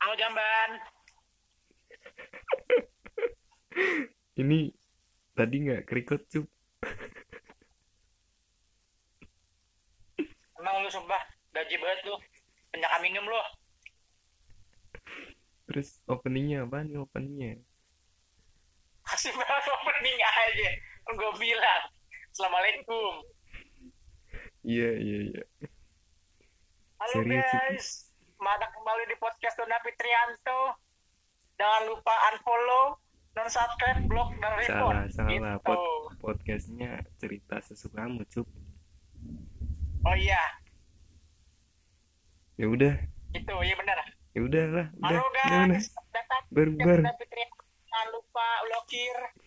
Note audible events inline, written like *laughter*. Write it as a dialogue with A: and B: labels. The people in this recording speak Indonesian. A: Halo Jamban.
B: Ini tadi nggak kerikut cup.
A: Emang lu sumpah gaji banget lu. Kenyaka minum lu. *laughs*
B: Terus openingnya apa nih openingnya?
A: Kasih banget opening aja. Gue bilang. Assalamualaikum.
B: Iya iya iya.
A: Halo
B: Serius, Ciki.
A: guys. Mana kembali di podcast Dona Fitrianto. Jangan lupa unfollow, non subscribe, blog, dan report.
B: Salah salah
A: Gitu.
B: Pod- podcastnya cerita sesukamu cup.
A: Oh iya,
B: Ya udah
A: itu iya benar.
B: ya udahlah udah
A: Halo
B: udah udah
A: guys, datang
B: Baru-
A: ke
B: baru.
A: Dona Fitrianto. Jangan lupa ulokir,